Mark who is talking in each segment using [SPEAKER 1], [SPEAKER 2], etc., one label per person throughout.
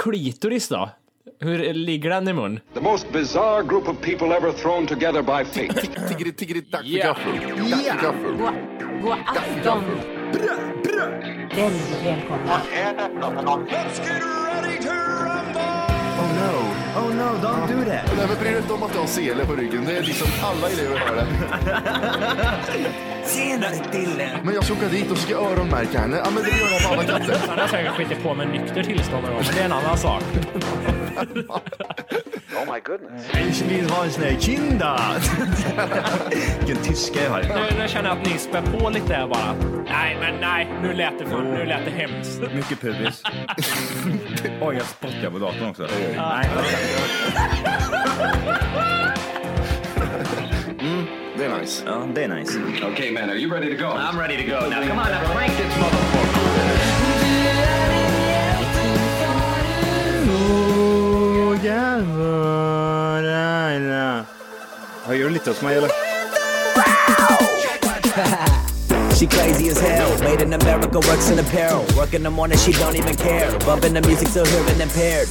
[SPEAKER 1] klitoris då? Hur ligger den i mun?
[SPEAKER 2] The most bizarre group of people ever thrown together by fate.
[SPEAKER 3] Tick- Tiggeri, tiggeri, dack för
[SPEAKER 1] Yeah.
[SPEAKER 3] gaffel. Dack för gaffel.
[SPEAKER 4] God, god afton. Väldigt välkomna.
[SPEAKER 5] Oh no, oh no, don't do that.
[SPEAKER 3] Nej, men bry dig inte om att jag har sele på ryggen. Det är liksom alla elever har det.
[SPEAKER 5] Tjenare Dille!
[SPEAKER 3] Men jag ska åka dit och ska öronmärka henne. Ja, men det gör jag på alla katter.
[SPEAKER 6] Han har säkert skitit på med nykter tillstånd någon gång, men det är en annan sak.
[SPEAKER 5] Ich will ha en sån här kinda! Vilken tyska jag har.
[SPEAKER 6] Nu, nu känner jag att ni spär på lite här bara. Nej, men nej, nu lät det, för, nu lät det hemskt.
[SPEAKER 5] Mycket pubis. Oj, jag spottar på datorn också. Nej,
[SPEAKER 3] Det är nice.
[SPEAKER 5] ja, det är nice.
[SPEAKER 2] Okay, man, are you ready to go?
[SPEAKER 5] I'm ready to go now. Come on, now crank this motherfucker. Har du lite hos mig eller?
[SPEAKER 7] She crazy as hell, made in America, works in apparel. Work in the morning, she don't even care. Bumping the music till hearing impaired.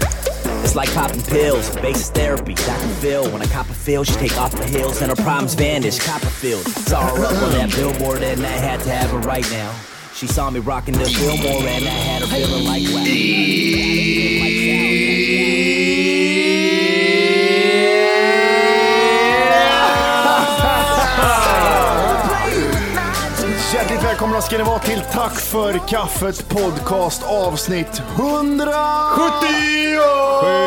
[SPEAKER 7] It's like popping pills, basis therapy, Dr. Phil. When I cop a feel, she take off her heels and her problems vanish. Copperfield, saw her up on that billboard and I had to have her right now. She saw me rocking the Fillmore and I had her feeling like wow.
[SPEAKER 3] Hjärtligt välkomna ska ni vara till Tack för kaffet podcast avsnitt 100!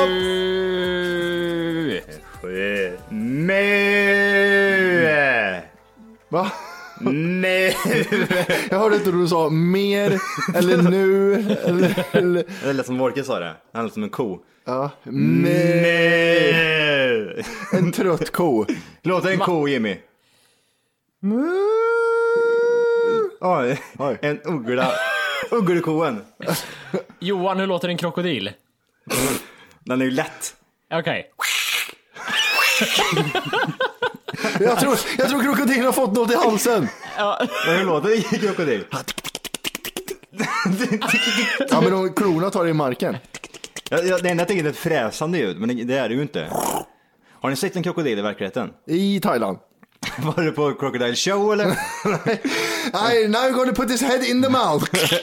[SPEAKER 3] 70!
[SPEAKER 5] Mö!
[SPEAKER 3] Va?
[SPEAKER 5] Mö!
[SPEAKER 3] Jag hörde inte hur du sa mer eller nu eller... eller
[SPEAKER 5] Det lät som Wolke sa det. Han lät som en ko.
[SPEAKER 3] ja. Med
[SPEAKER 5] Mö!
[SPEAKER 3] en trött ko.
[SPEAKER 5] Låt en ko Jimmy. Mm. Oj,
[SPEAKER 3] Oj.
[SPEAKER 5] en uggla. Ugglekoen.
[SPEAKER 1] Johan, hur låter en krokodil?
[SPEAKER 5] Den är ju lätt.
[SPEAKER 1] Okej.
[SPEAKER 3] Jag tror, jag tror krokodilen har fått något i halsen.
[SPEAKER 5] Men hur låter det krokodil?
[SPEAKER 3] Ja men de klorna tar i marken.
[SPEAKER 5] Jag, jag, det enda jag tänker är ett fräsande ljud, men det, det är det ju inte. Har ni sett en krokodil i verkligheten?
[SPEAKER 3] I Thailand.
[SPEAKER 5] Var det på Crocodile Show eller?
[SPEAKER 3] I now gonna put his head in the mouth.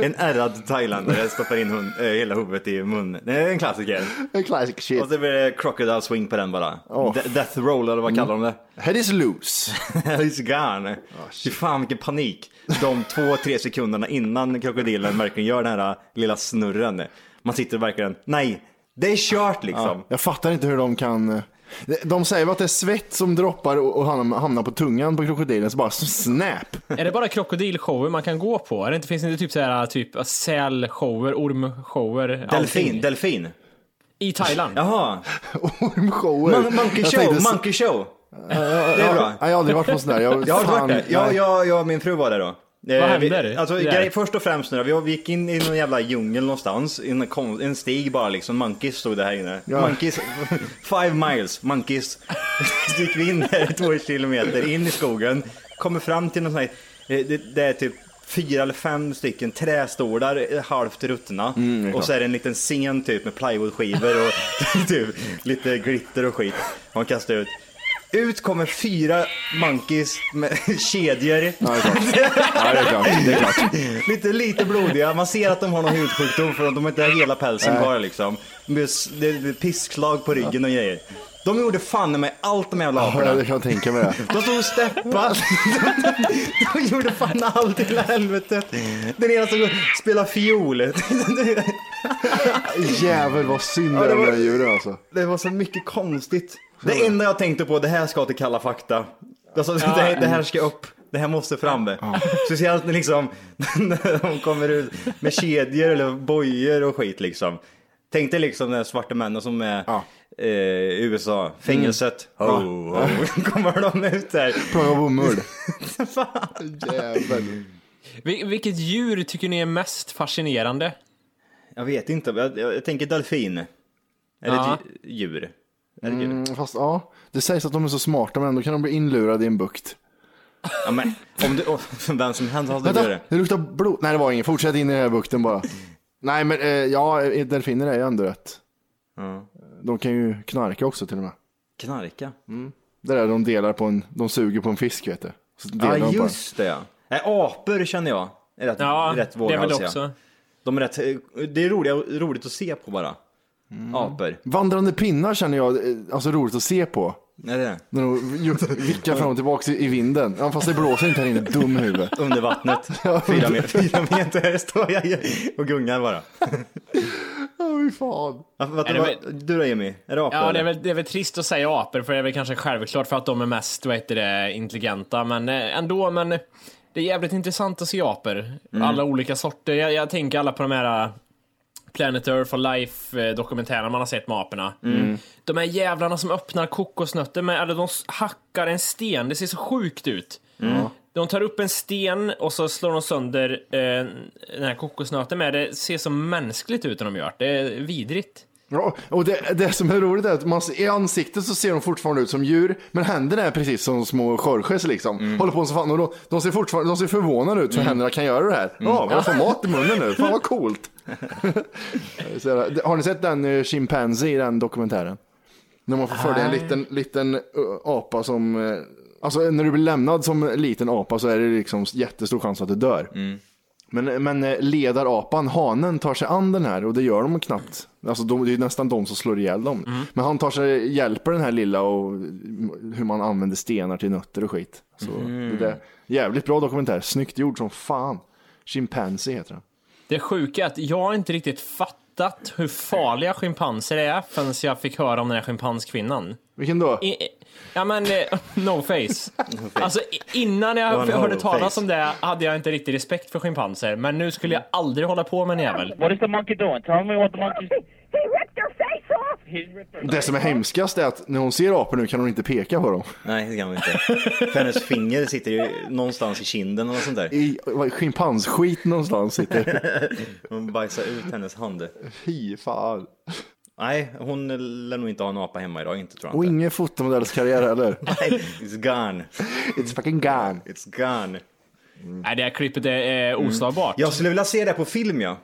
[SPEAKER 5] En ärrad thailändare stoppar in hund, eh, hela huvudet i munnen. Det är en klassiker.
[SPEAKER 3] Classic shit.
[SPEAKER 5] Och så blir det Crocodile Swing på den bara.
[SPEAKER 3] Åh.
[SPEAKER 5] De- Death Roll eller vad kallar de det?
[SPEAKER 3] Head is loose.
[SPEAKER 5] It's
[SPEAKER 3] Ah,
[SPEAKER 5] gone. Fy fan vilken panik. De två, tre sekunderna innan krokodilen verkligen gör den här lilla snurren. Man sitter verkligen, nej, det är kört liksom.
[SPEAKER 3] Jag fattar inte hur de kan. De säger väl att det är svett som droppar och och hamnar hamnar på tungan på krokodilen så bara snap.
[SPEAKER 1] Är det bara krokodilshower man kan gå på? Är det inte, finns det inte typ så här typ sälshower, ormshower?
[SPEAKER 5] Delfin,
[SPEAKER 1] allting?
[SPEAKER 5] delfin.
[SPEAKER 1] I Thailand?
[SPEAKER 5] Jaha,
[SPEAKER 3] Ormshower.
[SPEAKER 5] Mon- monkey
[SPEAKER 3] Jag
[SPEAKER 5] show,
[SPEAKER 3] tänkte-
[SPEAKER 5] monkey show.
[SPEAKER 3] det
[SPEAKER 5] är bra.
[SPEAKER 3] Jag, jag har aldrig varit på en sån där. Jag,
[SPEAKER 5] Jag har
[SPEAKER 3] fan,
[SPEAKER 5] varit där. Jag,
[SPEAKER 3] nej.
[SPEAKER 5] jag, jag och min fru var där då. Eh,
[SPEAKER 1] händer?
[SPEAKER 5] Vi, alltså,
[SPEAKER 1] Det där?
[SPEAKER 5] grej, först och främst nu då, vi var- vi gick in i någon jävla djungel någonstans, i en, kon- en stig bara liksom, monkeys stod det här inne.
[SPEAKER 3] Ja.
[SPEAKER 5] Monkeys, five miles, monkeys. Så gick vi in där två kilometer in i skogen, kommer fram till någon sån här, eh, det, det är typ fyra eller fem stycken trästolar eh, halvt ruttna och så är Mm, det en liten scen typ med plywoodskivor och typ lite glitter och skit. Man kastar ut. Ut kommer fyra monkeys med kedjor.
[SPEAKER 3] Ja, det är klart. Ja, det är klart. Det är klart.
[SPEAKER 5] Lite, lite blodiga. Man ser att de har någon hudsjukdom för de har inte hela pälsen kvar liksom. Det blir- Det blir pisslag på ryggen och grejer. De gjorde fan med allt de jävla
[SPEAKER 3] Ja,
[SPEAKER 5] aporna.
[SPEAKER 3] jag kan tänka mig det.
[SPEAKER 5] De stod och steppade. De gjorde fan allt i hela helvetet. Den ena stod och spelade fiol.
[SPEAKER 3] Jävel vad synd det
[SPEAKER 5] det
[SPEAKER 3] är om
[SPEAKER 5] var-
[SPEAKER 3] det där djuret alltså.
[SPEAKER 5] Det var så mycket konstigt. Det enda jag tänkte på, det här ska till Kalla fakta. Alltså, det, här- det här ska upp. Det här måste fram. det. Speciellt när, liksom, när de kommer ut med kedjor eller bojor och skit liksom. Tänk dig liksom den här svarta männen som är
[SPEAKER 3] Ja.
[SPEAKER 5] eh, i USA, fängelset. Ho, ho. Kommer de ut där?
[SPEAKER 3] Plocka bomull. Jävel.
[SPEAKER 1] Vil- vilket djur tycker ni är mest fascinerande?
[SPEAKER 5] Jag vet inte, jag, jag, jag tänker delfin. Är
[SPEAKER 1] Ja.
[SPEAKER 5] det ett djur? Är det ett djur?
[SPEAKER 3] Fast ja, det sägs att de är så smarta men ändå kan de bli inlurade i en bukt.
[SPEAKER 5] Ja, men, om du, om, vem som helst hade gjort
[SPEAKER 3] Vänta,
[SPEAKER 5] det.
[SPEAKER 3] det luktar blod. Nej det var inget, fortsätt in i den här bukten bara. Nej, men eh, ja, delfiner är ju ändå rätt. De kan ju knarka också till och med.
[SPEAKER 5] Knarka.
[SPEAKER 3] Det där de delar på en, de suger på en fisk vet du. Så delar
[SPEAKER 5] Ja,
[SPEAKER 3] de på den.
[SPEAKER 5] just det. ja. Nej, apor känner jag är rätt,
[SPEAKER 1] Ja,
[SPEAKER 5] rätt
[SPEAKER 1] det är väl
[SPEAKER 5] våghalsiga.
[SPEAKER 1] också.
[SPEAKER 5] De är rätt, eh, det är roliga, roligt att se på bara. Apor.
[SPEAKER 3] Vandrande pinnar känner jag, eh, alltså roligt att se på.
[SPEAKER 5] Är det det?
[SPEAKER 3] När de ju- vickar fram och tillbaka i i vinden. Ja, fast det blåser inte här inne, dum huvud.
[SPEAKER 5] Under vattnet. Fyra meter, fyra meter står jag i och gungar bara.
[SPEAKER 3] Ja, fy fan.
[SPEAKER 5] Ja, vad-
[SPEAKER 1] Är det
[SPEAKER 5] vad- Du då Jimmy, är det apor?
[SPEAKER 1] Ja, det är,
[SPEAKER 5] eller?
[SPEAKER 1] väl, det är väl trist att säga apor, för det är väl kanske självklart för att de är mest vad heter det, intelligenta, men eh, ändå. Men eh, det är jävligt intressant att se apor. Alla olika sorter. Jag, jag tänker alla på de här eh, Planet Earth och Life-dokumentärerna man har sett med aporna. De här jävlarna som öppnar kokosnötter med, eller de s- hackar en sten. Det ser så sjukt ut. De tar upp en sten och så slår de sönder eh, den här kokosnöten med. Det ser så mänskligt ut när de gör det. Det är vidrigt.
[SPEAKER 3] Ja, och det, det som är roligt är att man, i ansiktet så ser de fortfarande ut som djur, men händerna är precis som små Jorges liksom. Håller på som fan och de, de ser fortfarande, de ser förvånade ut för händerna kan göra det här. Ja, man får mat i munnen nu, fan vad coolt. Så här, Har ni sett den eh, Chimpanzee i den dokumentären? När man får följa en liten, liten eh, apa som, eh, alltså när du blir lämnad som liten apa så är det liksom jättestor chans att du dör. Men, men eh, ledarapan, hanen, tar sig an den här och det gör de knappt. Alltså de, det är nästan de som slår ihjäl dem. Men han tar sig, hjälper den här lilla och mm, hur man använder stenar till nötter och skit. Så det där, jävligt bra dokumentär, snyggt gjord som fan. Chimpanzee heter den.
[SPEAKER 1] Det sjuka är att jag inte riktigt fattat hur farliga schimpanser är förrän jag fick höra om den här schimpanskvinnan.
[SPEAKER 3] Vilken då?
[SPEAKER 1] I, i- ja men, eh, no face. Alltså i- innan jag
[SPEAKER 5] Det var en
[SPEAKER 1] hörde
[SPEAKER 5] no
[SPEAKER 1] talas
[SPEAKER 5] face.
[SPEAKER 1] om det hade jag inte riktigt respekt för schimpanser, men nu skulle jag aldrig hålla på med en jävel.
[SPEAKER 8] What is the monkey doing? Tell me what the monkey's
[SPEAKER 9] He, he ripped her face off.
[SPEAKER 8] He's ripped her.
[SPEAKER 3] Det som är hemskast är att när hon ser apor nu kan hon inte peka på dem.
[SPEAKER 5] Nej, det kan man inte. För hennes finger sitter ju någonstans i kinden eller något sånt där.
[SPEAKER 3] I vad, schimpansskit någonstans sitter.
[SPEAKER 5] Hon bajsar ut hennes hand.
[SPEAKER 3] Fy fan.
[SPEAKER 5] Nej, hon lär nog inte ha en apa hemma idag, inte tror jag
[SPEAKER 3] Och
[SPEAKER 5] inte.
[SPEAKER 3] ingen fotomodellskarriär heller.
[SPEAKER 5] Nej, It's gone.
[SPEAKER 3] It's fucking gone.
[SPEAKER 5] It's gone.
[SPEAKER 1] Nej, det här klippet är, är oslagbart.
[SPEAKER 5] Mm. Jag skulle vilja se det på film, ja.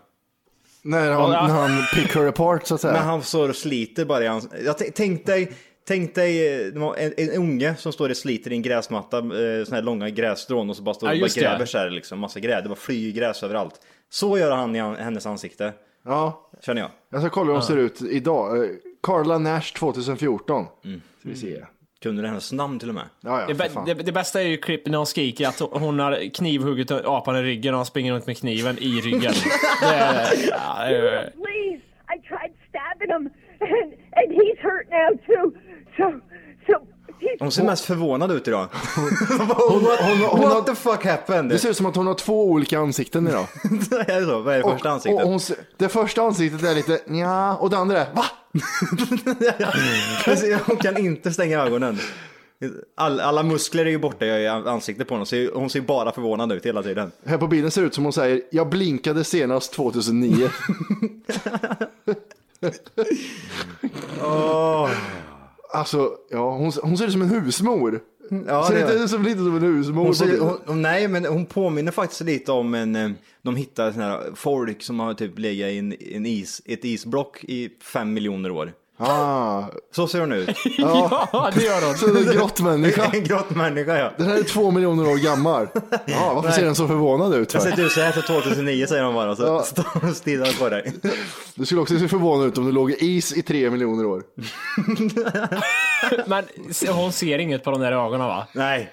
[SPEAKER 3] När han,
[SPEAKER 1] Ja.
[SPEAKER 3] när han pick her apart så att säga.
[SPEAKER 5] När han står och sliter bara i hans... Jag t- tänk dig, tänk dig eh, det var en, en unge som står och sliter i en gräsmatta, eh, såna här långa grässtrån och så bara står och
[SPEAKER 1] Ja,
[SPEAKER 5] bara
[SPEAKER 1] just det.
[SPEAKER 5] gräver så här liksom, massa gräs, det bara flyger gräs överallt. Så gör han i han- hennes ansikte,
[SPEAKER 3] Ja,
[SPEAKER 5] känner jag.
[SPEAKER 3] jag ska kolla hur de ser ut idag. Eh, Carla Nash 2014. Ska vi se.
[SPEAKER 5] Kunde det hennes namn till och med?
[SPEAKER 3] Ja, ja,
[SPEAKER 1] Det,
[SPEAKER 3] för
[SPEAKER 1] bä-
[SPEAKER 3] fan.
[SPEAKER 1] det, det bästa är ju klippet när hon skriker att hon har knivhuggit apan i ryggen och han springer runt med kniven i ryggen. Det är, ja, det är,
[SPEAKER 9] Please, I tried stabbing him, and and he's hurt now too. So, so he's
[SPEAKER 5] Hon ser mest förvånad ut idag. what
[SPEAKER 3] hon- hon-
[SPEAKER 5] what
[SPEAKER 3] hon-
[SPEAKER 5] the fuck happened?
[SPEAKER 3] Det ser ut som att hon har två olika ansikten idag.
[SPEAKER 5] är det så? Vad är det första ansiktet?
[SPEAKER 3] Och hon, ser- det första ansiktet är lite ja och det andra är va?
[SPEAKER 5] Alltså, hon kan inte stänga ögonen. All, alla muskler är ju borta i ansiktet på honom, så hon ser ju bara förvånad ut hela tiden.
[SPEAKER 3] Här på bilden ser det ut som hon säger jag blinkade senast 2009. Alltså, ja, hon, hon ser ut som en husmor.
[SPEAKER 5] Ja,
[SPEAKER 3] ser
[SPEAKER 5] det
[SPEAKER 3] inte
[SPEAKER 5] gör
[SPEAKER 3] ut som lite som en husmor?
[SPEAKER 5] Hon
[SPEAKER 3] på
[SPEAKER 5] ser,
[SPEAKER 3] bilden?
[SPEAKER 5] hon, hon- nej, men hon påminner faktiskt lite om en... eh, De hittar såna här folk som har typ legat i en, en is, ett isblock i fem miljoner år.
[SPEAKER 3] ah,
[SPEAKER 5] Så ser hon ut.
[SPEAKER 1] ja, det gör hon.
[SPEAKER 3] så det är en grottmänniska.
[SPEAKER 5] en grottmänniska, ja.
[SPEAKER 3] Den här är två miljoner år gammal. Ja, varför ser den så förvånad ut?
[SPEAKER 5] Jag har
[SPEAKER 3] För?
[SPEAKER 5] sett ut så här för 2009 säger hon bara, så
[SPEAKER 3] Ja.
[SPEAKER 5] står hon och stirrar på dig.
[SPEAKER 3] Du skulle också se förvånad ut om det låg is i tre miljoner år.
[SPEAKER 1] Men se- hon ser inget på de där ögonen va?
[SPEAKER 5] Nej.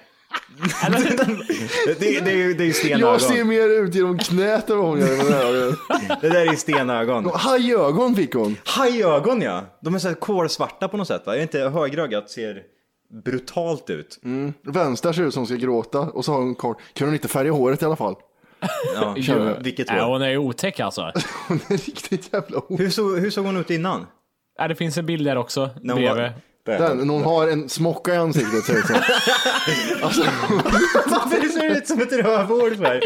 [SPEAKER 5] det, det, är ju- det är ju
[SPEAKER 3] Jag ser
[SPEAKER 5] stenögon.
[SPEAKER 3] mer ut genom knät än vad hon gör med den här ögonen.
[SPEAKER 5] Det där är ju stenögon.
[SPEAKER 3] Hajögon fick hon.
[SPEAKER 5] Hajögon ja! De är så här kolsvarta på något sätt va? Är det inte högerögat ser brutalt ut?
[SPEAKER 3] Mm. Vänster ser ut som hon ska gråta och så har hon kort. Kunde hon inte färga håret i alla fall?
[SPEAKER 5] Ja,
[SPEAKER 3] Kör.
[SPEAKER 5] vilket
[SPEAKER 1] Nej,
[SPEAKER 5] hår?
[SPEAKER 1] Äh, hon är ju otäck alltså.
[SPEAKER 3] Hon är riktigt jävla o-
[SPEAKER 5] Hur såg, hur såg hon ut innan?
[SPEAKER 1] Ja, Äh, det finns en bild där också,
[SPEAKER 5] hon
[SPEAKER 1] bredvid.
[SPEAKER 5] var-
[SPEAKER 3] Den, när hon har en smocka i ansiktet ser det ut som. Alltså,
[SPEAKER 5] Varför ser det ut som ett rövhål för?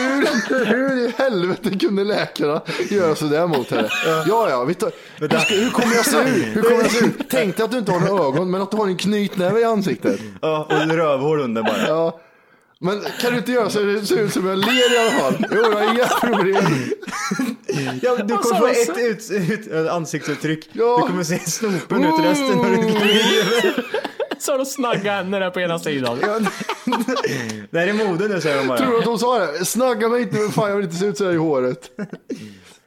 [SPEAKER 3] Hur, hur i helvete kunde läkarna göra sådär mot henne? Ja, ja, vi tar, hur, ska, hur kommer jag se ut? Hur kommer jag se ut? Tänk dig att du inte har några ögon, men att du har en knytnäve i ansiktet.
[SPEAKER 5] Ja, och ett rövhål under bara.
[SPEAKER 3] Ja. Men kan du inte göra så det ser ut som jag ler i alla fall? Jo, jag har inga problem.
[SPEAKER 5] Ja, du kommer få ett, ut, ut, ett ansiktsuttryck. Du kommer se snopen ut resten när du glider.
[SPEAKER 1] Så har du snagga händer där på ena sidan.
[SPEAKER 5] Det här är mode nu säger de bara.
[SPEAKER 3] Tror du att de sa det? Snagga mig inte, men fan jag vill inte se ut sådär i håret.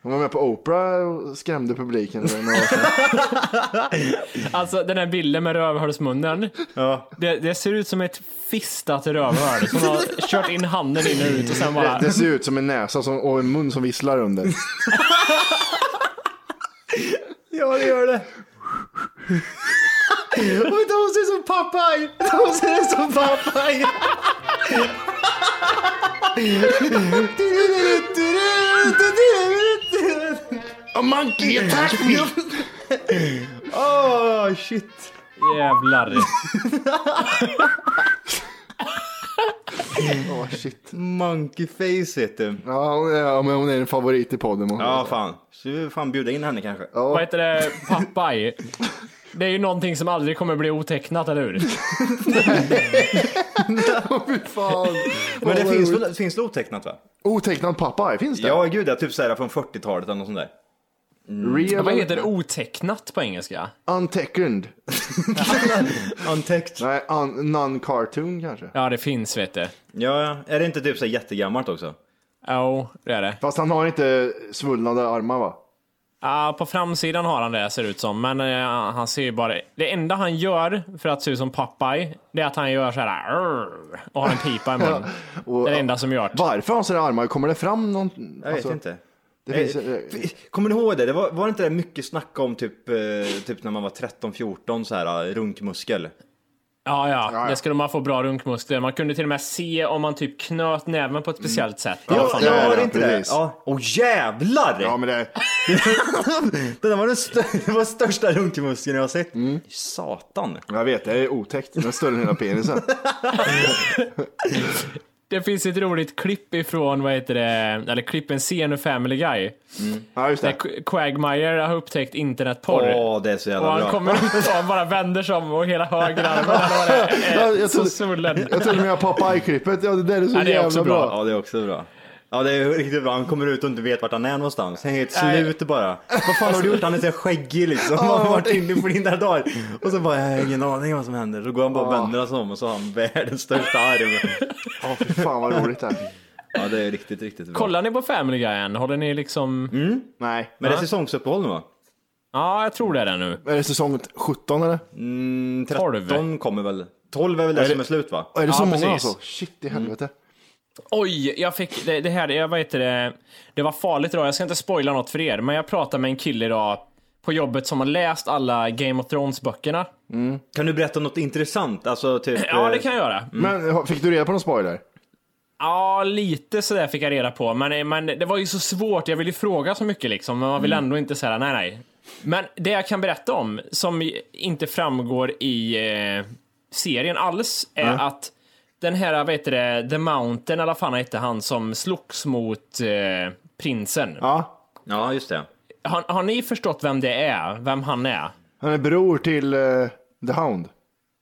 [SPEAKER 3] Hon var med på Oprah och skrämde publiken. eller något.
[SPEAKER 1] Alltså den här bilden med rövhålsmunnen.
[SPEAKER 5] Ja.
[SPEAKER 1] Det, det ser ut som ett fistat rövhål som har kört in handen in och ut och sen bara...
[SPEAKER 3] Det ser ut som en näsa som, och en mun som visslar under.
[SPEAKER 5] Ja, det gör det. Och de ser ut som Popeye! De ser ut som Popeye!
[SPEAKER 3] A monkey attack me!
[SPEAKER 5] Åh, shit.
[SPEAKER 1] Jävlar.
[SPEAKER 3] Åh, shit.
[SPEAKER 5] Monkey face heter det.
[SPEAKER 3] Ja, hon är- ja, men hon är en favorit i podden. måste jag
[SPEAKER 5] Ja,
[SPEAKER 3] säga.
[SPEAKER 5] fan. Så vi får fan bjuda in henne kanske.
[SPEAKER 1] Vad heter det? Papaj. Det är ju någonting som aldrig kommer bli otecknat, eller hur?
[SPEAKER 3] Fy fan.
[SPEAKER 5] Men det
[SPEAKER 3] Vad
[SPEAKER 5] finns,
[SPEAKER 3] roligt.
[SPEAKER 5] väl- finns det otecknat va?
[SPEAKER 3] Otecknad pappa, finns det?
[SPEAKER 5] Ja, gud ja. Typ såhär från 40-talet eller något sånt där.
[SPEAKER 3] Real
[SPEAKER 1] Vad heter otecknat på engelska?
[SPEAKER 3] Unteckned.
[SPEAKER 5] Antäckt.
[SPEAKER 3] Nej, un, non-cartoon kanske.
[SPEAKER 1] Ja, det finns, vet du.
[SPEAKER 5] Ja, ja. Är det inte typ så här jättegammalt också?
[SPEAKER 1] Ja, det är det.
[SPEAKER 3] Fast han har inte svullnade armar va?
[SPEAKER 1] Ja, på framsidan har han det, ser det ut som. Men eh, han ser ju bara... Det enda han gör för att se ut som Popeye, det är att han gör så här... "Arr", Och har en pipa i munnen. Det är det enda som gör det.
[SPEAKER 3] Varför har han sådana armar? Kommer det fram någon?
[SPEAKER 5] Jag vet inte.
[SPEAKER 3] Alltså, Det finns,
[SPEAKER 5] Eh,
[SPEAKER 3] eh,
[SPEAKER 5] f- Kommer du ihåg det? det var, var det inte det mycket snack om typ, eh, typ när man var 13-14 så här eh, runkmuskel?
[SPEAKER 1] Ja, ja. Det skulle man få bra runkmuskler. Man kunde till och med se om man typ knöt näven på ett speciellt sätt.
[SPEAKER 5] Ja,
[SPEAKER 1] fan,
[SPEAKER 5] ja,
[SPEAKER 3] det är
[SPEAKER 5] var det
[SPEAKER 3] det,
[SPEAKER 5] inte
[SPEAKER 3] precis.
[SPEAKER 5] det? Ja. Åh jävlar!
[SPEAKER 3] Ja men det,
[SPEAKER 5] Det där var den stö- det var största runkmuskeln jag har sett.
[SPEAKER 3] Mm.
[SPEAKER 5] Satan.
[SPEAKER 3] jag vet, det är otäckt. Den är större än hela penisen.
[SPEAKER 1] Det finns ett roligt klipp ifrån, vad heter det, eller klipp, en scen ur Family Guy.
[SPEAKER 3] Ja just
[SPEAKER 1] Där
[SPEAKER 3] det.
[SPEAKER 1] Qu- Quagmire har upptäckt internetporr.
[SPEAKER 5] Åh, det är så
[SPEAKER 1] Och
[SPEAKER 5] jävla
[SPEAKER 1] han
[SPEAKER 5] bra.
[SPEAKER 1] kommer ut och han bara vänder sig om och hela höger armen eller vad det är,
[SPEAKER 3] Jag-
[SPEAKER 1] är
[SPEAKER 3] jag
[SPEAKER 1] så
[SPEAKER 3] trodde-
[SPEAKER 1] svullen.
[SPEAKER 3] Jag till och med har Popeye-klippet. Ja det där är så
[SPEAKER 1] Ja, det är också
[SPEAKER 3] jävla
[SPEAKER 1] bra.
[SPEAKER 3] bra.
[SPEAKER 5] Ja, det är också bra. Ja, det är riktigt bra. Han kommer ut och inte vet vart han är någonstans. Han är helt
[SPEAKER 1] Nej.
[SPEAKER 5] slut bara. Vad fan har du gjort? Han är så här skäggig liksom. Han har varit inne i flera dagar. Och så bara, jag har ingen aning vad som händer. Då går han bara och vänder sig om och så har han världens största arm.
[SPEAKER 3] Ja, fy fan vad roligt det här.
[SPEAKER 5] Ja, det är riktigt, riktigt bra.
[SPEAKER 1] Kollar ni på Family Guy än? Håller ni liksom...
[SPEAKER 3] Nej.
[SPEAKER 5] Men det är säsongsuppehåll nu va?
[SPEAKER 1] Ja, jag tror det är det nu.
[SPEAKER 3] Är det säsong 17 eller?
[SPEAKER 5] Mm, 13
[SPEAKER 1] Tolv.
[SPEAKER 5] kommer väl? 12 är väl det som är slut va?
[SPEAKER 3] Och är det
[SPEAKER 1] Ja,
[SPEAKER 3] så många
[SPEAKER 1] precis.
[SPEAKER 3] alltså? Shit i helvete.
[SPEAKER 1] Oj, jag fick det, det här, jag, vad heter det, det var farligt idag, jag ska inte spoila något för er, men jag pratade med en kille idag på jobbet som har läst alla Game of Thrones böckerna.
[SPEAKER 5] Kan du berätta något intressant? Alltså typ...
[SPEAKER 1] Ja, det
[SPEAKER 5] eh,
[SPEAKER 1] kan jag göra.
[SPEAKER 3] Mm. Men ha- fick du reda på någon spoiler?
[SPEAKER 1] Ja, lite sådär fick jag reda på. Men, men det var ju så svårt. Jag ville ju fråga så mycket liksom, men man vill ändå inte säga nej, nej. Men det jag kan berätta om, som inte framgår i eh, serien alls, är att den här, vad heter det, The Mountain, eller vad fan hette han som slogs mot eh, prinsen.
[SPEAKER 3] Ja.
[SPEAKER 5] Ja, just det.
[SPEAKER 1] Har, har ni förstått vem det är? Vem han är?
[SPEAKER 3] Han är bror till eh, The Hound.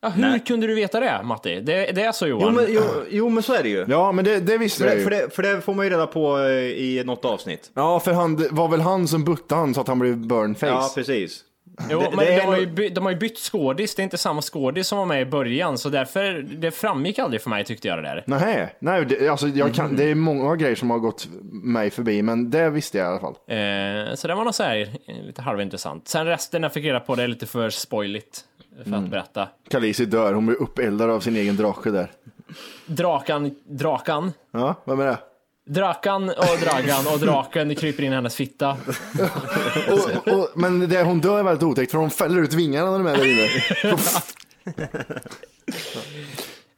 [SPEAKER 1] Ja, hur
[SPEAKER 5] Nej.
[SPEAKER 1] kunde du veta det, Matti? Det, det är så
[SPEAKER 5] Jo
[SPEAKER 1] Johan.
[SPEAKER 5] men, jo, jo, men så är det ju.
[SPEAKER 3] Ja men det, det visste
[SPEAKER 5] För
[SPEAKER 3] jag
[SPEAKER 5] det,
[SPEAKER 3] ju.
[SPEAKER 5] för, det, för det får man ju reda på eh, i något avsnitt.
[SPEAKER 3] Ja för han, det var väl han som buttade han så att han blev burnface.
[SPEAKER 5] Ja, precis.
[SPEAKER 1] Jo,
[SPEAKER 5] Det-
[SPEAKER 1] men
[SPEAKER 5] det är
[SPEAKER 1] de, har ju
[SPEAKER 5] nog-
[SPEAKER 1] by, de har ju bytt skådis, det är inte samma skådis som var med i början, så därför, det framgick aldrig för mig tyckte jag det där.
[SPEAKER 3] Nej, nej det, alltså jag kan, det är många grejer som har gått mig förbi men det visste jag i alla fall.
[SPEAKER 1] Eh, så det var nog så här, eh, lite halvintressant. Sen resten jag fick reda på, det är lite för spoiligt för
[SPEAKER 5] Mm.
[SPEAKER 1] att berätta.
[SPEAKER 3] Khaleesi dör, hon blir uppeldad av sin egen drake där.
[SPEAKER 1] Drakan, drakan,
[SPEAKER 3] Ja, vem är det?
[SPEAKER 1] drakan och dragan och draken kryper in i hennes fitta.
[SPEAKER 3] Och, och, men det, hon dör är väldigt otäckt för hon fäller ut vingarna när de är där inne.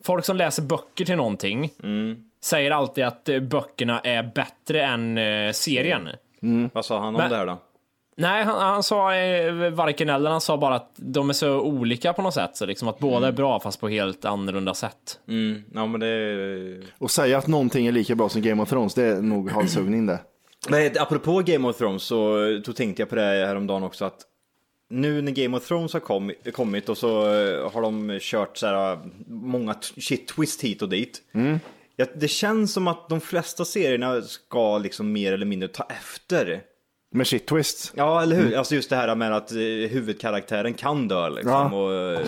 [SPEAKER 1] Folk som läser böcker till någonting
[SPEAKER 5] Mm.
[SPEAKER 1] säger alltid att eh, böckerna är bättre än eh, serien.
[SPEAKER 5] Vad sa han om
[SPEAKER 1] Men-
[SPEAKER 5] det här då?
[SPEAKER 1] Nej, han, han sa eh, varken eller, han sa bara att de är så olika på något sätt, så liksom att båda är bra fast på helt annorlunda sätt.
[SPEAKER 5] Mm, ja, men det...
[SPEAKER 3] Och säga att någonting är lika bra som Game of Thrones, det är nog halshuggning det.
[SPEAKER 5] Nej, apropå Game of Thrones så eh, då tänkte jag på det häromdagen också att nu när Game of Thrones har kom, kommit och så eh, har de kört så här eh, många t- shit twist hit och dit. Ja, det känns som att de flesta serierna ska liksom mer eller mindre ta efter
[SPEAKER 3] Med shit twist.
[SPEAKER 5] Ja, eller hur? Alltså just det här med att eh, huvudkaraktären kan dö liksom,
[SPEAKER 3] Ja.
[SPEAKER 5] och, eh,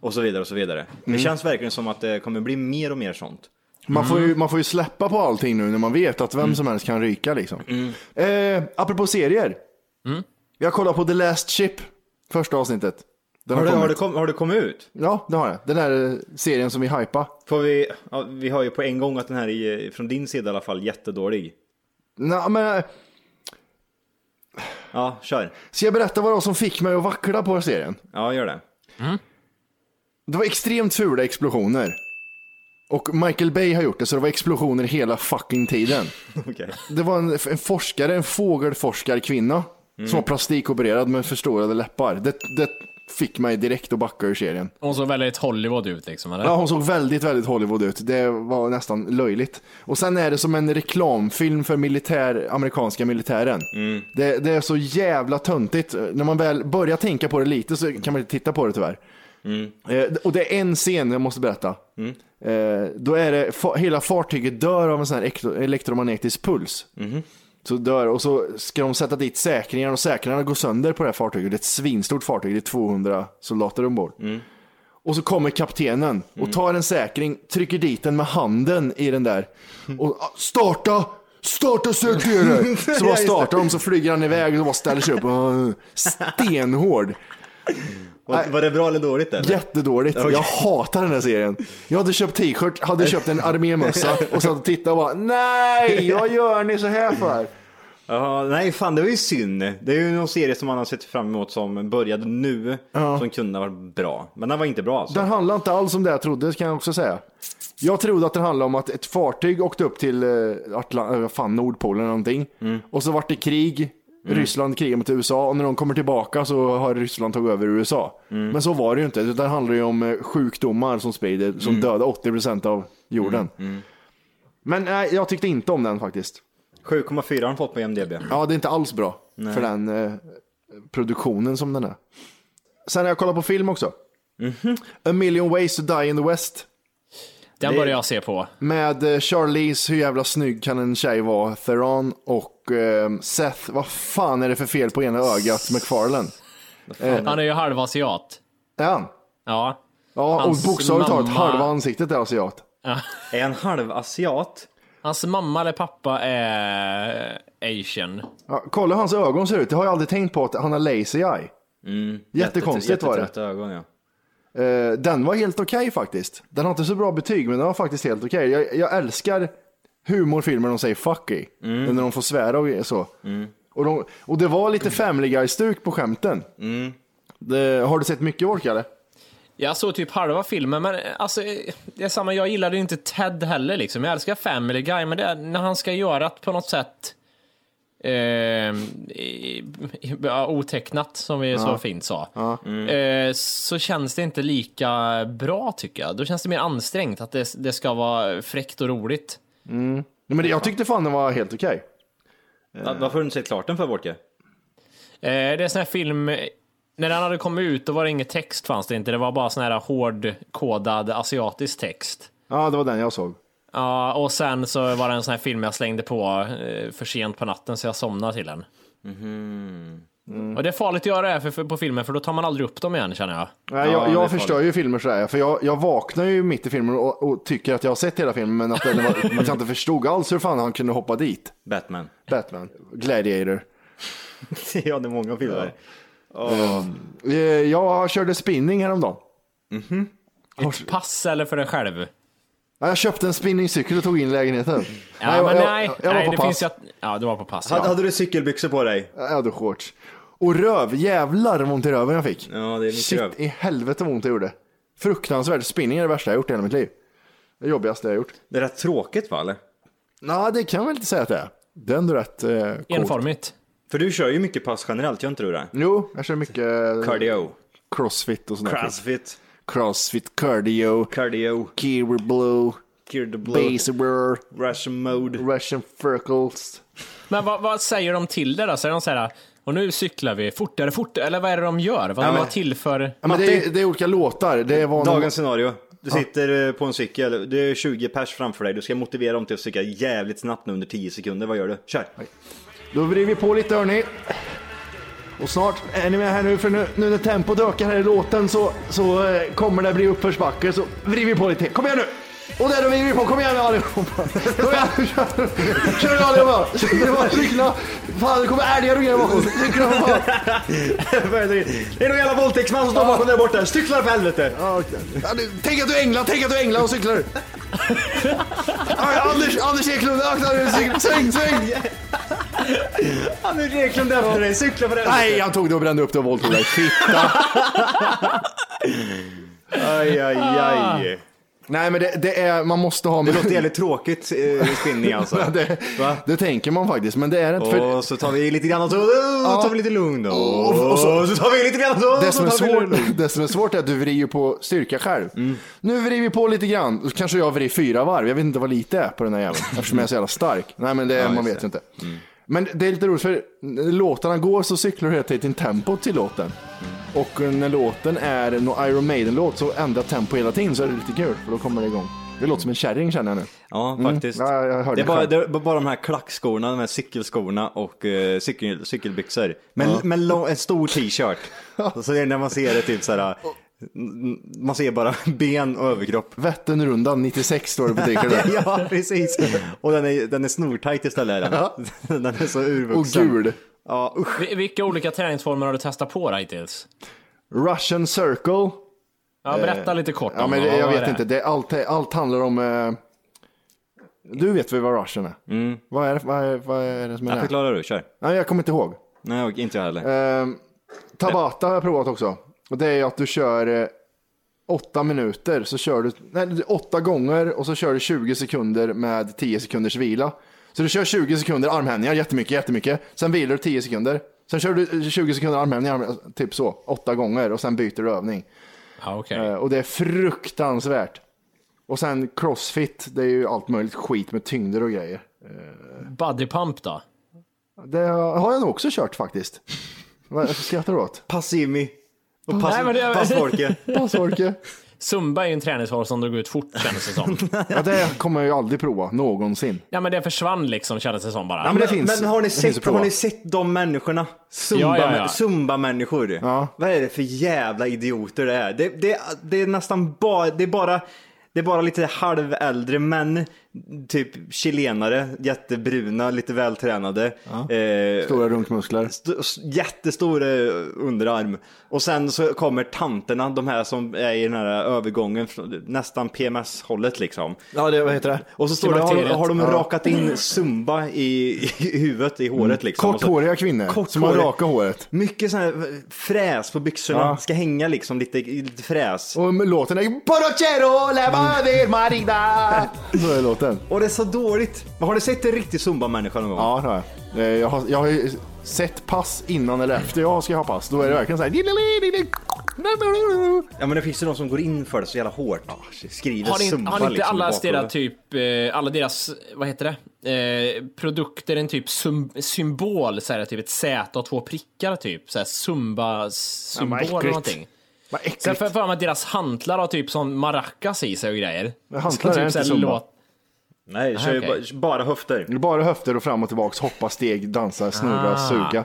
[SPEAKER 5] och så vidare och så vidare. Det känns verkligen som att det kommer bli mer och mer sånt.
[SPEAKER 3] Man, får
[SPEAKER 5] Mm.
[SPEAKER 3] ju, man får ju släppa på allting nu när man vet att vem som helst kan ryka liksom.
[SPEAKER 5] Mm.
[SPEAKER 3] Eh, apropå serier. Jag kollar på The Last Ship, första avsnittet. Den
[SPEAKER 5] Har
[SPEAKER 3] har
[SPEAKER 5] det, har, det
[SPEAKER 3] kommit.
[SPEAKER 5] kom, har det kommit ut?
[SPEAKER 3] Ja, det har jag. Den där eh, serien som vi hypade.
[SPEAKER 5] Får vi, ja, vi har ju på en gång att den här är, från din sida i alla fall, jättedålig.
[SPEAKER 3] Nej, men eh,
[SPEAKER 5] Ja, kör.
[SPEAKER 3] ska jag berätta vad det var som fick mig att vackla på serien?
[SPEAKER 5] Ja, gör det.
[SPEAKER 3] Det var extremt fula explosioner. Och Michael Bay har gjort det, så det var explosioner hela fucking tiden.
[SPEAKER 5] Okej.
[SPEAKER 3] Det var en, en forskare, en fågelforskarkvinna, som var plastikopererad med förstorade läppar. Det, det fick mig direkt att backa ur serien.
[SPEAKER 1] Hon såg väldigt Hollywood ut liksom, eller?
[SPEAKER 3] Ja, hon såg väldigt, väldigt Hollywood ut. Det var nästan löjligt. Och sen är det som en reklamfilm för militär, amerikanska militären. Det, det är så jävla töntigt. När man väl börjar tänka på det lite så kan man inte titta på det tyvärr. Eh, och det är en scen jag måste berätta. Eh, då är det, fa- hela fartyget dör av en sån här ekto- elektromagnetisk puls. Så dör och så ska de sätta dit säkringar och säkringarna går sönder på det här fartyget. Det är ett svinstort fartyg, det är 200 soldater ombord. Och så kommer kaptenen och tar en säkring, trycker dit den med handen i den där. Och ah, starta! Starta sökdjuret! Så bara startar de så flyger han iväg och bara ställer sig upp. Ah, Stenhård.
[SPEAKER 5] Var, var det bra eller dåligt eller?
[SPEAKER 3] Jättedåligt. Jag hatar den här serien. Jag hade köpt t-shirt, hade köpt en armémössa och satt och tittade och bara nej, vad gör ni så här för?
[SPEAKER 5] Ja, nej fan det var ju synd. Det är ju någon serie som man har sett fram emot som började nu, som kunde ha varit bra. Men den var inte bra alltså.
[SPEAKER 3] Den handlar inte alls om det jag trodde kan jag också säga. Jag trodde att den handlade om att ett fartyg åkte upp till eh, Atlan- eh, vad fan, Nordpolen eller någonting. Och så vart det krig. Ryssland krigar mot USA och när de kommer tillbaka så har Ryssland tagit över USA. Men så var det ju inte. utan Det handlar ju om eh, sjukdomar som sprider, som dödar 80% av jorden. Men nej, jag tyckte inte om den faktiskt.
[SPEAKER 5] 7,4 har den fått på IMDB.
[SPEAKER 3] Ja, det är inte alls bra för den eh, produktionen som den är. Sen har jag kollat på film också. A million ways to die in the West.
[SPEAKER 1] Den började jag se på.
[SPEAKER 3] Med eh, Charlize, hur jävla snygg kan en tjej vara, Theron och eh, Seth, vad fan är det för fel på ena ögat, McFarlane?
[SPEAKER 1] Han är ju halvasiat.
[SPEAKER 3] Är han?
[SPEAKER 1] Ja.
[SPEAKER 3] Ja, och
[SPEAKER 1] Hans
[SPEAKER 3] bokstavligt talat
[SPEAKER 1] mamma-
[SPEAKER 3] halva ansiktet är asiat.
[SPEAKER 5] Är en halvasiat?
[SPEAKER 1] Hans mamma eller pappa är eh, asian.
[SPEAKER 3] Ja, kolla hur hans ögon ser ut, det har jag aldrig tänkt på att han har lazy eye. Jättekonstigt var det.
[SPEAKER 5] Mm, Jättetrötta ögon ja.
[SPEAKER 3] Eh, den var helt okej faktiskt. Den har inte så bra betyg, men den var faktiskt helt okej. Jag, jag älskar humorfilmer de säger fuck i,
[SPEAKER 1] Mm.
[SPEAKER 3] när de får svära och så. Och, de, och det var lite Family Guy-stuk på skämten.
[SPEAKER 1] Mm.
[SPEAKER 3] Det, har du sett mycket Ork eller?
[SPEAKER 1] Jag såg typ halva filmen, men alltså, det är samma, jag gillade ju inte Ted heller liksom. Jag älskar Family Guy, men det är när han ska göra det på något sätt eh, i- i- ja, otecknat, som vi så fint sa, eh, så känns det inte lika bra tycker jag. Då känns det mer ansträngt, att det, det ska vara fräckt och roligt.
[SPEAKER 3] Nej, men det, jag tyckte fan den var helt okej.
[SPEAKER 5] Va- Varför har du inte sett klart den för Wolke?
[SPEAKER 1] Eh, det är en sån här film, eh, när den hade kommit ut, då var det ingen text fanns det inte, det var bara sån här hårdkodad asiatisk text.
[SPEAKER 3] Ja, det var den jag såg.
[SPEAKER 1] Ja, och sen så var det en sån här film jag slängde på eh, för sent på natten så jag somnade till den.
[SPEAKER 3] Mhm.
[SPEAKER 1] Mm. Och det är farligt att göra det här för, för, på filmen för då tar man aldrig upp dem igen känner jag.
[SPEAKER 3] Nej,
[SPEAKER 5] Ja,
[SPEAKER 3] jag
[SPEAKER 5] det är
[SPEAKER 3] jag förstör ju filmer sådär, för jag, jag vaknar ju mitt i filmen och, och tycker att jag har sett hela filmen, men att, den var, att jag inte förstod alls hur fan han kunde hoppa dit.
[SPEAKER 5] Batman.
[SPEAKER 3] Batman, Gladiator.
[SPEAKER 5] ja, det är många filmer.
[SPEAKER 3] Eh, Jag körde spinning häromdagen.
[SPEAKER 1] Ett pass eller för dig själv?
[SPEAKER 3] Ja, Jag köpte en spinningcykel och tog in i lägenheten.
[SPEAKER 1] Ja,
[SPEAKER 3] jag,
[SPEAKER 1] men
[SPEAKER 3] jag,
[SPEAKER 1] nej,
[SPEAKER 3] jag var
[SPEAKER 1] nej
[SPEAKER 3] på
[SPEAKER 1] det
[SPEAKER 3] pass.
[SPEAKER 1] finns ju att... Ja, du var på pass.
[SPEAKER 5] Hade,
[SPEAKER 1] Ja.
[SPEAKER 5] hade du cykelbyxor på dig?
[SPEAKER 3] Jag hade shorts. Och röv, jävlar vad ont i röven jag fick.
[SPEAKER 5] Ja, det är mycket
[SPEAKER 3] Shit
[SPEAKER 5] röv.
[SPEAKER 3] i helvete vad ont jag gjorde. Fruktansvärt, spinning är det värsta jag gjort i hela mitt liv. Det jobbigaste jag har gjort.
[SPEAKER 5] Det är rätt tråkigt va eller?
[SPEAKER 3] Nej, det kan jag väl inte säga att det är. Det är ändå rätt eh, coolt.
[SPEAKER 1] Enformigt.
[SPEAKER 5] För du kör ju mycket pass generellt, gör inte du det?
[SPEAKER 3] Jo, jag kör mycket eh,
[SPEAKER 5] Cardio.
[SPEAKER 3] crossfit och sånt där.
[SPEAKER 5] Crossfit.
[SPEAKER 3] Crossfit, cardio,
[SPEAKER 5] Cardio.
[SPEAKER 3] Kiwi Blue,
[SPEAKER 5] Cure the blow.
[SPEAKER 3] Baserwear,
[SPEAKER 5] Russian mode.
[SPEAKER 3] Russian Circles.
[SPEAKER 1] Men vad, vad säger de till det då? Säger de så här, och nu cyklar vi fortare, fortare, eller vad är det de gör? Vad,
[SPEAKER 5] Ja, men-
[SPEAKER 1] vad tillför...
[SPEAKER 3] Ja, men det, är, det är olika låtar. Det var någon-
[SPEAKER 5] Dagens scenario. Du sitter eh, på en cykel, det är 20 pers framför dig, du ska motivera dem till att cykla jävligt snabbt nu under 10 sekunder. Vad gör du? Kör!
[SPEAKER 3] Då vrider vi på lite hörni. Och snart är ni med här nu för nu, nu när tempot ökar här i låten så, så eh, kommer det bli uppförsbacke så vrider vi på lite. Kom igen nu! Och där då vrider vi på. Kom igen nu allihopa! Kom igen nu kör! Kör nu allihopa! Cykla bara, cykla! Fan det kommer älgar och grejer bakom. Cykla för fan!
[SPEAKER 5] Det är någon jävla våldtäktsman som står bakom där borta. Cyklar för helvete!
[SPEAKER 3] Ja, okej. Ja, det- Tänk att du änglar, tänk att du änglar och cyklar! Ja, Anders, Anders Eklund, akta dig! cykla. Sväng, sväng!
[SPEAKER 5] Han är Eklund efter dig. Cyklar för helvete!
[SPEAKER 3] Nej, han tog det och brände upp det och våldtog dig. Fitta!
[SPEAKER 5] Aj, aj, aj.
[SPEAKER 3] Nej, men det, det är, man måste ha...
[SPEAKER 5] Det låter jävligt tråkigt, eh, spinning alltså.
[SPEAKER 3] Ja, det,
[SPEAKER 5] Va?
[SPEAKER 3] det tänker man faktiskt, men det är det inte. För
[SPEAKER 5] Och så tar vi lite grann och så och tar vi lite lugn. Och,
[SPEAKER 3] och så-
[SPEAKER 5] så, tar vi lite grann och så,
[SPEAKER 3] det,
[SPEAKER 5] och så
[SPEAKER 3] som är
[SPEAKER 5] tar vi lite
[SPEAKER 3] svårt,
[SPEAKER 5] lugn.
[SPEAKER 3] det som är svårt är att du vrider på styrka själv. Nu vrider vi på lite grann, Då kanske jag vrider fyra varv. Jag vet inte vad lite är på den här jäveln, eftersom jag är så jävla stark. Nej, men det, man vet ju inte. Men det är lite roligt, för när låtarna går så cyklar du hela tiden tempot till låten. Och när låten är någon Iron Maiden-låt så ändrar tempo hela tiden, så är det lite kul, för då kommer det igång. Det låter som en kärring känner jag nu.
[SPEAKER 5] Ja,
[SPEAKER 3] Mm.
[SPEAKER 5] faktiskt.
[SPEAKER 3] Ja, jag hörde
[SPEAKER 5] det, är
[SPEAKER 3] det
[SPEAKER 5] bara,
[SPEAKER 3] själv.
[SPEAKER 5] det är bara de här klackskorna, de här cykelskorna och eh, cykel, cykelbyxor. Men, men lång, en stor t-shirt. Och så är det när man ser det typ så här. n- Man ser bara ben och överkropp.
[SPEAKER 3] Vätternrundan 96 står det på dricker
[SPEAKER 5] Ja, precis. Och den är, den är snortajt istället. är Den. den är så
[SPEAKER 3] Och
[SPEAKER 5] urvuxen.
[SPEAKER 3] gul.
[SPEAKER 5] Ja, usch.
[SPEAKER 1] Vi- Vilka olika träningsformer har du testat på då hittills?
[SPEAKER 3] Russian circle.
[SPEAKER 1] Ja, berätta lite kort
[SPEAKER 3] Eh, Ja,
[SPEAKER 1] om
[SPEAKER 3] men
[SPEAKER 1] dem.
[SPEAKER 3] det, jag
[SPEAKER 1] Vad är
[SPEAKER 3] vet
[SPEAKER 1] det?
[SPEAKER 3] inte. Det, är allt, allt handlar om... Eh, du vet väl vad Russian är?
[SPEAKER 1] Mm.
[SPEAKER 3] Vad, är det, vad, är, vad är det som är
[SPEAKER 5] Jag
[SPEAKER 3] det?
[SPEAKER 5] förklarar du, kör.
[SPEAKER 3] Nej, jag kommer inte ihåg.
[SPEAKER 5] Nej, och inte jag heller.
[SPEAKER 3] Eh, Tabata har jag provat också. Och det är att du kör eh, åtta minuter, så kör du nej, åtta gånger och så kör du 20 sekunder med 10 sekunders vila. Så du kör 20 sekunder armhävningar, jättemycket, jättemycket. Sen vilar du 10 sekunder. Sen kör du 20 sekunder armhävningar, armhävningar, typ så, åtta gånger och sen byter du övning.
[SPEAKER 1] Ja, okej.
[SPEAKER 3] Eh, Och det är fruktansvärt. Och sen crossfit, det är ju allt möjligt skit med tyngder och grejer.
[SPEAKER 1] Body pump då?
[SPEAKER 3] Det har jag nog också kört faktiskt. Vad skrattar du åt?
[SPEAKER 5] Passimi. Och pass,
[SPEAKER 1] Nej, men det-
[SPEAKER 5] passfolke.
[SPEAKER 3] Passvorke.
[SPEAKER 1] Zumba är ju en träningsform som drog ut fort kändes det som.
[SPEAKER 3] Ja, det kommer jag ju aldrig prova, någonsin.
[SPEAKER 1] Ja men det försvann liksom kändes det som bara.
[SPEAKER 3] men det finns-
[SPEAKER 5] men har, ni
[SPEAKER 3] det finns att
[SPEAKER 5] sett,
[SPEAKER 3] prova.
[SPEAKER 5] har ni sett de människorna?
[SPEAKER 1] Ja,
[SPEAKER 5] Zumba,
[SPEAKER 1] ja, ja.
[SPEAKER 5] Zumba-människor.
[SPEAKER 3] Ja.
[SPEAKER 5] Vad är det för jävla idioter det är? Det, det, det är nästan bara, det är bara, det är bara lite halväldre män, typ chilenare, jättebruna, lite vältränade. Eh,
[SPEAKER 3] Stora runkmuskler.
[SPEAKER 5] st- s- jättestor eh, underarm. Och sen så kommer tanterna, de här som är i den här övergången, från- nästan PMS-hållet liksom.
[SPEAKER 3] Ja, det, vad heter det?
[SPEAKER 5] Och så står det, har,
[SPEAKER 1] bakteriet.
[SPEAKER 5] har de rakat in Zumba i, i huvudet, i håret liksom. Och så-
[SPEAKER 3] Mm. Korthåriga kvinnor som har
[SPEAKER 5] Korthåriga.
[SPEAKER 3] raka håret.
[SPEAKER 5] Mycket sån här eh, fräs på byxorna,
[SPEAKER 3] Ja.
[SPEAKER 5] ska hänga liksom lite, lite fräs.
[SPEAKER 3] Och låten är Porocero levader marida. Så är låten.
[SPEAKER 5] Och det är så dåligt. Har du sett en riktig Zumba-människa någon gång?
[SPEAKER 3] Ja, det har jag. Eh, Jag har, jag har ju sett pass innan eller efter jag ska ha pass. Då är det verkligen så här.
[SPEAKER 5] Ja, men det finns ju de som går in för det så jävla hårt. Skriver
[SPEAKER 1] Har inte,
[SPEAKER 5] Zumba
[SPEAKER 1] har inte
[SPEAKER 5] liksom i
[SPEAKER 1] alla
[SPEAKER 5] bakgrunden.
[SPEAKER 1] deras typ, eh, alla deras, vad heter det, eh, produkter en typ sym, symbol, så här, typ ett Z och två prickar typ, så här zumba symbol eller
[SPEAKER 3] äckligt.
[SPEAKER 1] någonting.
[SPEAKER 3] Vad äckligt.
[SPEAKER 1] Sen får jag för mig att deras hantlar har typ som maracas i sig och grejer.
[SPEAKER 3] Men hantlar
[SPEAKER 1] Så typ
[SPEAKER 3] är
[SPEAKER 1] så
[SPEAKER 3] inte
[SPEAKER 1] här
[SPEAKER 3] zumba.
[SPEAKER 5] Nej, kör ju
[SPEAKER 1] okej.
[SPEAKER 5] bara, bara höfter.
[SPEAKER 3] Det är Bara höfter och fram och tillbaks, hoppa, steg, dansa, snurra, suga.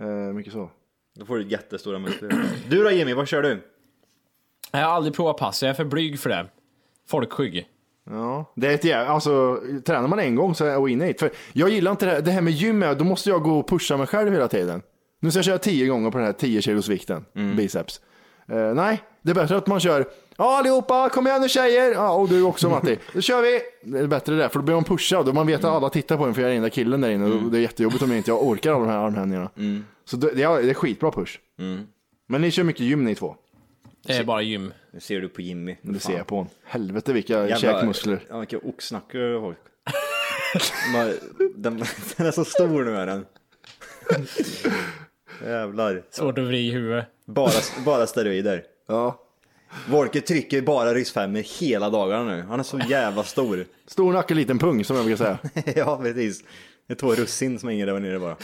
[SPEAKER 3] Eh, mycket så.
[SPEAKER 5] Då får du jättestora muskler. Du då Jimmy, vad kör du?
[SPEAKER 1] Jag har aldrig provat pass, jag är för blyg för det. Folkskygg.
[SPEAKER 3] Ja, det är ett jävla, alltså tränar man en gång så är jag in i det. För jag gillar inte det här, det här med gym, är- då måste jag gå och pusha mig själv hela tiden. Nu ska jag köra tio gånger på den här 10 kilos vikten, biceps. Eh, nej, det är bättre att man kör, ja allihopa, kom igen nu tjejer, ja, och du också Matti, då kör vi. Det är bättre det, för då blir man pushad och man vet att alla tittar på en för jag är den där killen där inne och det är jättejobbigt om jag inte jag orkar alla de här armhävningarna. Så det, det är det är skitbra push. Men ni kör mycket gym ni två,
[SPEAKER 1] Det är bara gym.
[SPEAKER 5] Nu ser du på Jimmy.
[SPEAKER 3] det ser jag på honom. Helvete vilka käkmuskler.
[SPEAKER 5] Ja, vilka oxnackor du har. Man- den, den är så stor nu är den. Jävlar.
[SPEAKER 1] Svårt att vrida i huvudet.
[SPEAKER 5] Bara, bara steroider.
[SPEAKER 3] Ja.
[SPEAKER 5] Volke trycker bara ryssfemmor hela dagarna nu. Han är så jävla stor.
[SPEAKER 3] Stor nacke, liten pung som jag brukar säga.
[SPEAKER 5] ja, precis. Det är två russin som hänger där nere bara.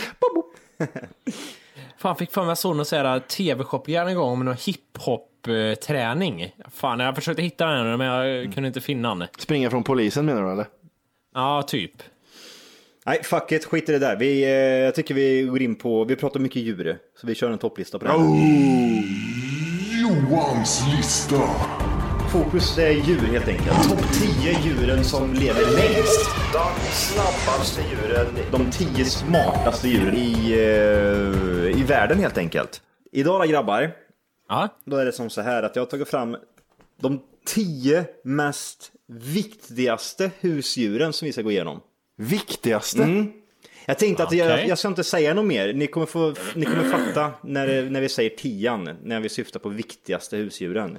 [SPEAKER 1] Fan, fick för mig att jag såg någon sån här tv-shoppgrej en gång om någon hiphop-träning. Fan, jag försökte hitta den Mm. här, men jag kunde inte finna den.
[SPEAKER 3] Springa från polisen menar du eller?
[SPEAKER 1] Ja, typ.
[SPEAKER 5] Nej, fuck it, skit i det där. Vi, eh, jag tycker vi går in på, vi pratar mycket djur, så vi kör en topplista på det. här.
[SPEAKER 10] Oh, Johans lista.
[SPEAKER 5] Fokus är djur helt enkelt. Topp 10 djuren som lever längst. De snabbaste djuren. De 10 smartaste djuren i, eh, i världen helt enkelt. Idag då grabbar,
[SPEAKER 1] Ja.
[SPEAKER 5] då är det som så här att jag har tagit fram de 10 mest viktigaste husdjuren som vi ska gå igenom.
[SPEAKER 3] Viktigaste?
[SPEAKER 5] Mm. Jag tänkte att jag,
[SPEAKER 1] Okej.
[SPEAKER 5] jag ska inte säga något mer. Ni kommer, få, ni kommer fatta när, när vi säger tian, när vi syftar på viktigaste husdjuren.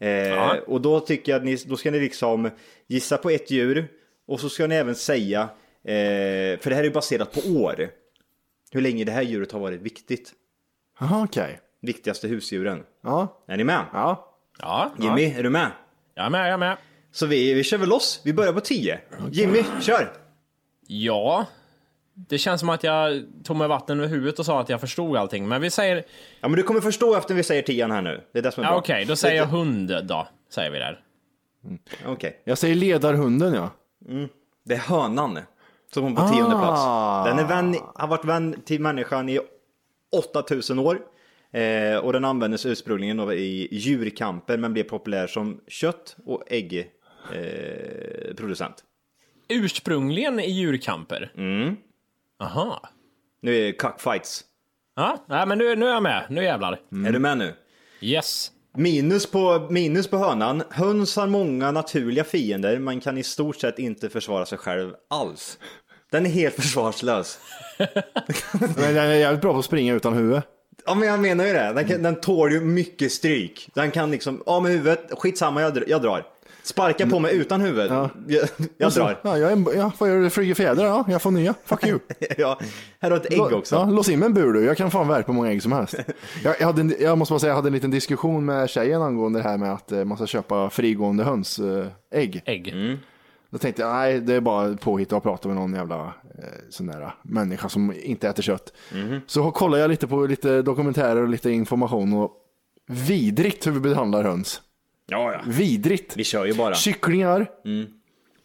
[SPEAKER 5] Eh, och då tycker jag att ni, då ska ni liksom gissa på ett djur och så ska ni även säga, eh, för det här är ju baserat på år, hur länge det här djuret har varit viktigt.
[SPEAKER 3] Jaha, okej.
[SPEAKER 5] Viktigaste husdjuren.
[SPEAKER 3] Ja,
[SPEAKER 5] Är ni med?
[SPEAKER 3] ja.
[SPEAKER 1] Ja.
[SPEAKER 5] Jimmy, är du med?
[SPEAKER 1] Jag är med, jag är med.
[SPEAKER 5] Så vi, vi kör väl loss, vi börjar på 10. Jimmy, kör!
[SPEAKER 1] Ja. Det känns som att jag tog mig vatten över huvudet och sa att jag förstod allting. Men vi säger...
[SPEAKER 5] Ja men du kommer förstå efter vi säger tian här nu. Det är det som är
[SPEAKER 1] Ja,
[SPEAKER 5] bra.
[SPEAKER 1] Okej, då säger jag hund då. Säger vi där.
[SPEAKER 5] Okej.
[SPEAKER 3] Jag säger ledarhunden ja.
[SPEAKER 5] Det är hönan som hon på tionde plats. Den är vän, har varit vän till människan i 8000 år. Eh, och den användes ursprungligen då i djurkamper men blev populär som kött och äggproducent. Eh, producent.
[SPEAKER 1] Ursprungligen i djurkamper. Mm. Aha.
[SPEAKER 5] nu är det cockfights.
[SPEAKER 1] Ja, nej, men nu, nu är jag med. Nu jävlar.
[SPEAKER 5] Är du med nu?
[SPEAKER 1] Yes.
[SPEAKER 5] Minus på, minus på hönan. Höns har många naturliga fiender men kan i stort sett inte försvara sig själv alls. Den är helt försvarslös.
[SPEAKER 3] Men den är jävligt bra på att springa utan huvud.
[SPEAKER 5] Ja men jag menar ju det. Den,
[SPEAKER 3] Mm.
[SPEAKER 5] kan, den tål ju mycket stryk. Den kan liksom, ja med huvudet, skitsamma jag, dr- jag drar. Sparka på
[SPEAKER 3] Mm.
[SPEAKER 5] mig utan huvudet. Jag, jag drar.
[SPEAKER 3] Alltså, Ja, jag är, ja, vad gör du? Flyger fjädrar? Ja, jag får nya. Fuck you.
[SPEAKER 5] Ja, här har du ett ägg
[SPEAKER 3] Ja,
[SPEAKER 5] också.
[SPEAKER 3] lås in mig i en bur du. Jag kan fan värpa hur många ägg som helst. Jag, jag, hade en, jag måste bara säga, jag hade en liten diskussion med tjejen angående det här med att eh, man ska köpa frigående eh, hönsägg.
[SPEAKER 1] Ägg.
[SPEAKER 3] Då tänkte jag, nej, det är bara påhitt att prata med någon jävla eh, sån där människa som inte äter kött.
[SPEAKER 5] Mhm.
[SPEAKER 3] Så kollade jag lite på lite dokumentärer och lite information och vidrigt hur vi behandlar höns.
[SPEAKER 5] Ja, ja.
[SPEAKER 3] Vidrigt.
[SPEAKER 5] Vi kör Mm. ju bara.
[SPEAKER 3] Kycklingar.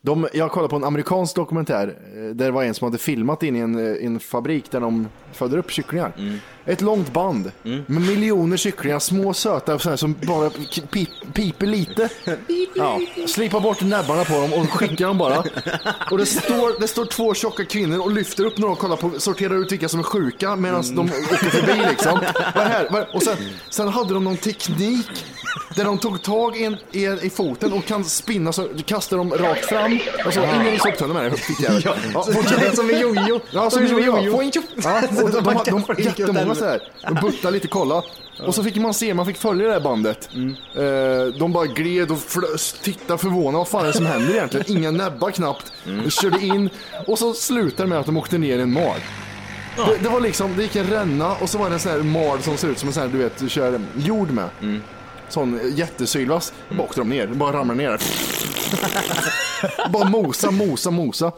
[SPEAKER 3] De, jag kollade på en amerikansk dokumentär eh, där det var en som hade filmat in i en, eh, i en fabrik där de föder upp kycklingar.
[SPEAKER 5] Mm.
[SPEAKER 3] Ett långt band med miljoner kycklingar, små söta sådana som bara k- pip, piper lite. Ja. Slipa bort näbbarna på dem och skicka dem bara. Och det står, det står två tjocka kvinnor och lyfter upp några och kollar på, sorterar ut vilka som är sjuka medan de åker förbi liksom. Vad är det här? Vad är det? Och sen, sen hade de någon teknik där de tog tag i, en, i, en- i foten och kan spinna så kastar de rakt fram. Alltså, Och så in i soptunnan med det. fickjävel. Ja, fortsätt.
[SPEAKER 5] Som en jojo.
[SPEAKER 3] Ja, som
[SPEAKER 5] en
[SPEAKER 3] gjorde jag. Få en tjoff. Ja, och de, de,
[SPEAKER 5] Man
[SPEAKER 3] de,
[SPEAKER 5] kan
[SPEAKER 3] de,
[SPEAKER 5] få
[SPEAKER 3] de
[SPEAKER 5] en tjoff
[SPEAKER 3] jättemånga
[SPEAKER 5] där.
[SPEAKER 3] så här. De buttade lite, kolla. Och så fick man se, man fick följa det här bandet. Eh, de bara gled och flös, tittade förvånade, vad fan är det som händer egentligen? Inga näbbar knappt. Körde in och så slutade det med att de åkte ner i en mal. Det, det var liksom, det gick en ränna och så var det en sån här mal som ser ut som en sån här, du vet, du kör jord med. Sån jättesylvass. Bara åkte de ner, bara ramlade ner. Bara mosa, mosa, mosa.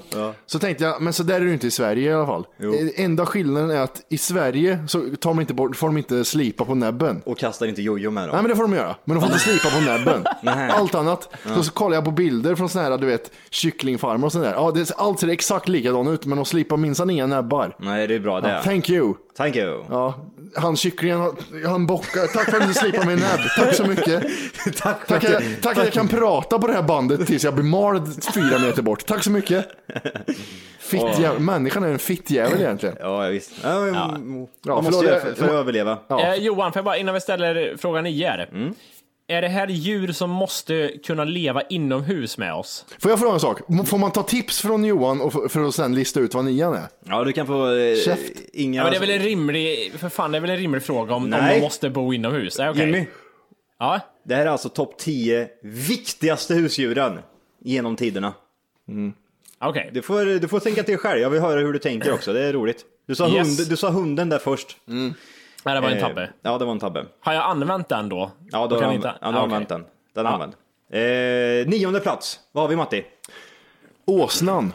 [SPEAKER 3] Så tänkte jag, men så där är det ju inte i Sverige i alla fall. Eh, Enda skillnaden är att i Sverige så tar de inte bort, får de inte slipa på näbben.
[SPEAKER 5] Och kastar inte jojo med
[SPEAKER 3] Nej
[SPEAKER 5] dem.
[SPEAKER 3] men det får de göra, men de får inte slipa på näbben.
[SPEAKER 5] Nej.
[SPEAKER 3] Allt annat. Så, så kollar jag på bilder från sådana här, du vet, kycklingfarmar och sådär. Ja, det, allt ser exakt likadant ut, men de slipar minsann inga näbbar.
[SPEAKER 5] Nej, det är bra det.
[SPEAKER 3] Thank you.
[SPEAKER 5] Thank you.
[SPEAKER 3] Ja, han kycklingen, han- han bockar. Tack för att du slipade min näbb. Tack så mycket.
[SPEAKER 5] Tack för
[SPEAKER 3] Tack,
[SPEAKER 5] att
[SPEAKER 3] jag,
[SPEAKER 5] du-
[SPEAKER 3] tack att jag kan prata på det här bandet tills jag blir mald fyra meter bort. Tack så mycket. Fittjävel. Människan är en fittjävel egentligen.
[SPEAKER 5] Ja, ja, visst. Ja, men, Man
[SPEAKER 3] Ja,
[SPEAKER 5] måste
[SPEAKER 3] förlåt,
[SPEAKER 5] göra
[SPEAKER 3] jag-
[SPEAKER 5] för, för att överleva.
[SPEAKER 1] Eh, Johan, för jag bara, innan vi ställer frågan igen.
[SPEAKER 5] Mm.
[SPEAKER 1] Är det här djur som måste kunna leva inomhus med oss?
[SPEAKER 3] Får jag fråga en sak? M- Får man ta tips från Johan och f- för att sen lista ut vad nian är?
[SPEAKER 5] Ja, du kan få eh,
[SPEAKER 3] Käft.
[SPEAKER 5] inga...
[SPEAKER 1] Ja, men det är väl en rimlig, för fan, det är väl en rimlig fråga om, om
[SPEAKER 5] Alltså- Nej.
[SPEAKER 1] de måste bo inomhus? Nej, okej.
[SPEAKER 5] Jimmy,
[SPEAKER 1] Ja,
[SPEAKER 5] det här är alltså topp 10 viktigaste husdjuren genom tiderna.
[SPEAKER 1] okej.
[SPEAKER 5] Du får, du får tänka till själv, jag vill höra hur du tänker också, det är roligt. Du sa,
[SPEAKER 1] Yes.
[SPEAKER 5] hund, du sa hunden där först.
[SPEAKER 1] Nej, det var en
[SPEAKER 5] Eh,
[SPEAKER 1] tabbe.
[SPEAKER 5] Ja, det var en tabbe.
[SPEAKER 1] Har jag använt den då?
[SPEAKER 5] Ja,
[SPEAKER 1] Då
[SPEAKER 5] då har
[SPEAKER 1] kan vi
[SPEAKER 5] du anv-
[SPEAKER 1] inte-
[SPEAKER 5] ja,
[SPEAKER 1] ah,
[SPEAKER 5] du har
[SPEAKER 1] okej.
[SPEAKER 5] använt den. Den har använt. Eh, nionde plats, vad har vi Matti?
[SPEAKER 3] Åsnan.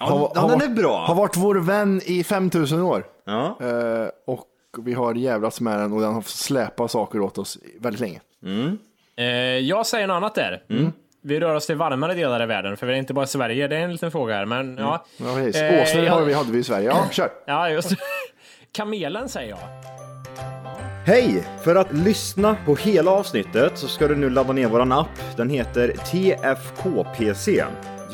[SPEAKER 5] Ja,
[SPEAKER 3] Har-
[SPEAKER 5] den
[SPEAKER 3] har
[SPEAKER 5] den
[SPEAKER 3] varit-
[SPEAKER 5] är bra.
[SPEAKER 3] Har varit vår vän i 5000 år.
[SPEAKER 5] ja.
[SPEAKER 3] Eh, och vi har jävlats med den och den har fått släpa saker åt oss väldigt länge.
[SPEAKER 5] Mm.
[SPEAKER 1] Eh, jag säger något annat där. vi rör oss till varmare delar av världen, för vi är inte bara i Sverige, det är en liten fråga här. Men, ja.
[SPEAKER 5] Mm.
[SPEAKER 3] Ja, precis.
[SPEAKER 1] Eh,
[SPEAKER 3] Åsnen
[SPEAKER 1] jag-
[SPEAKER 3] har vi, hade vi i Sverige. Ja, kör.
[SPEAKER 1] Ja, just Kamelen säger jag.
[SPEAKER 5] Hej! För att lyssna på hela avsnittet så ska du nu ladda ner våran app. Den heter TFKPC.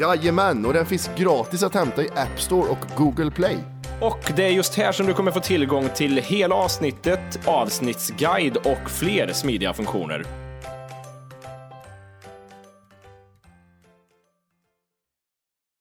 [SPEAKER 3] Jajamän, och den finns gratis att hämta i App Store och Google Play.
[SPEAKER 10] Och det är just här som du kommer få tillgång till hela avsnittet, avsnittsguide och fler smidiga funktioner.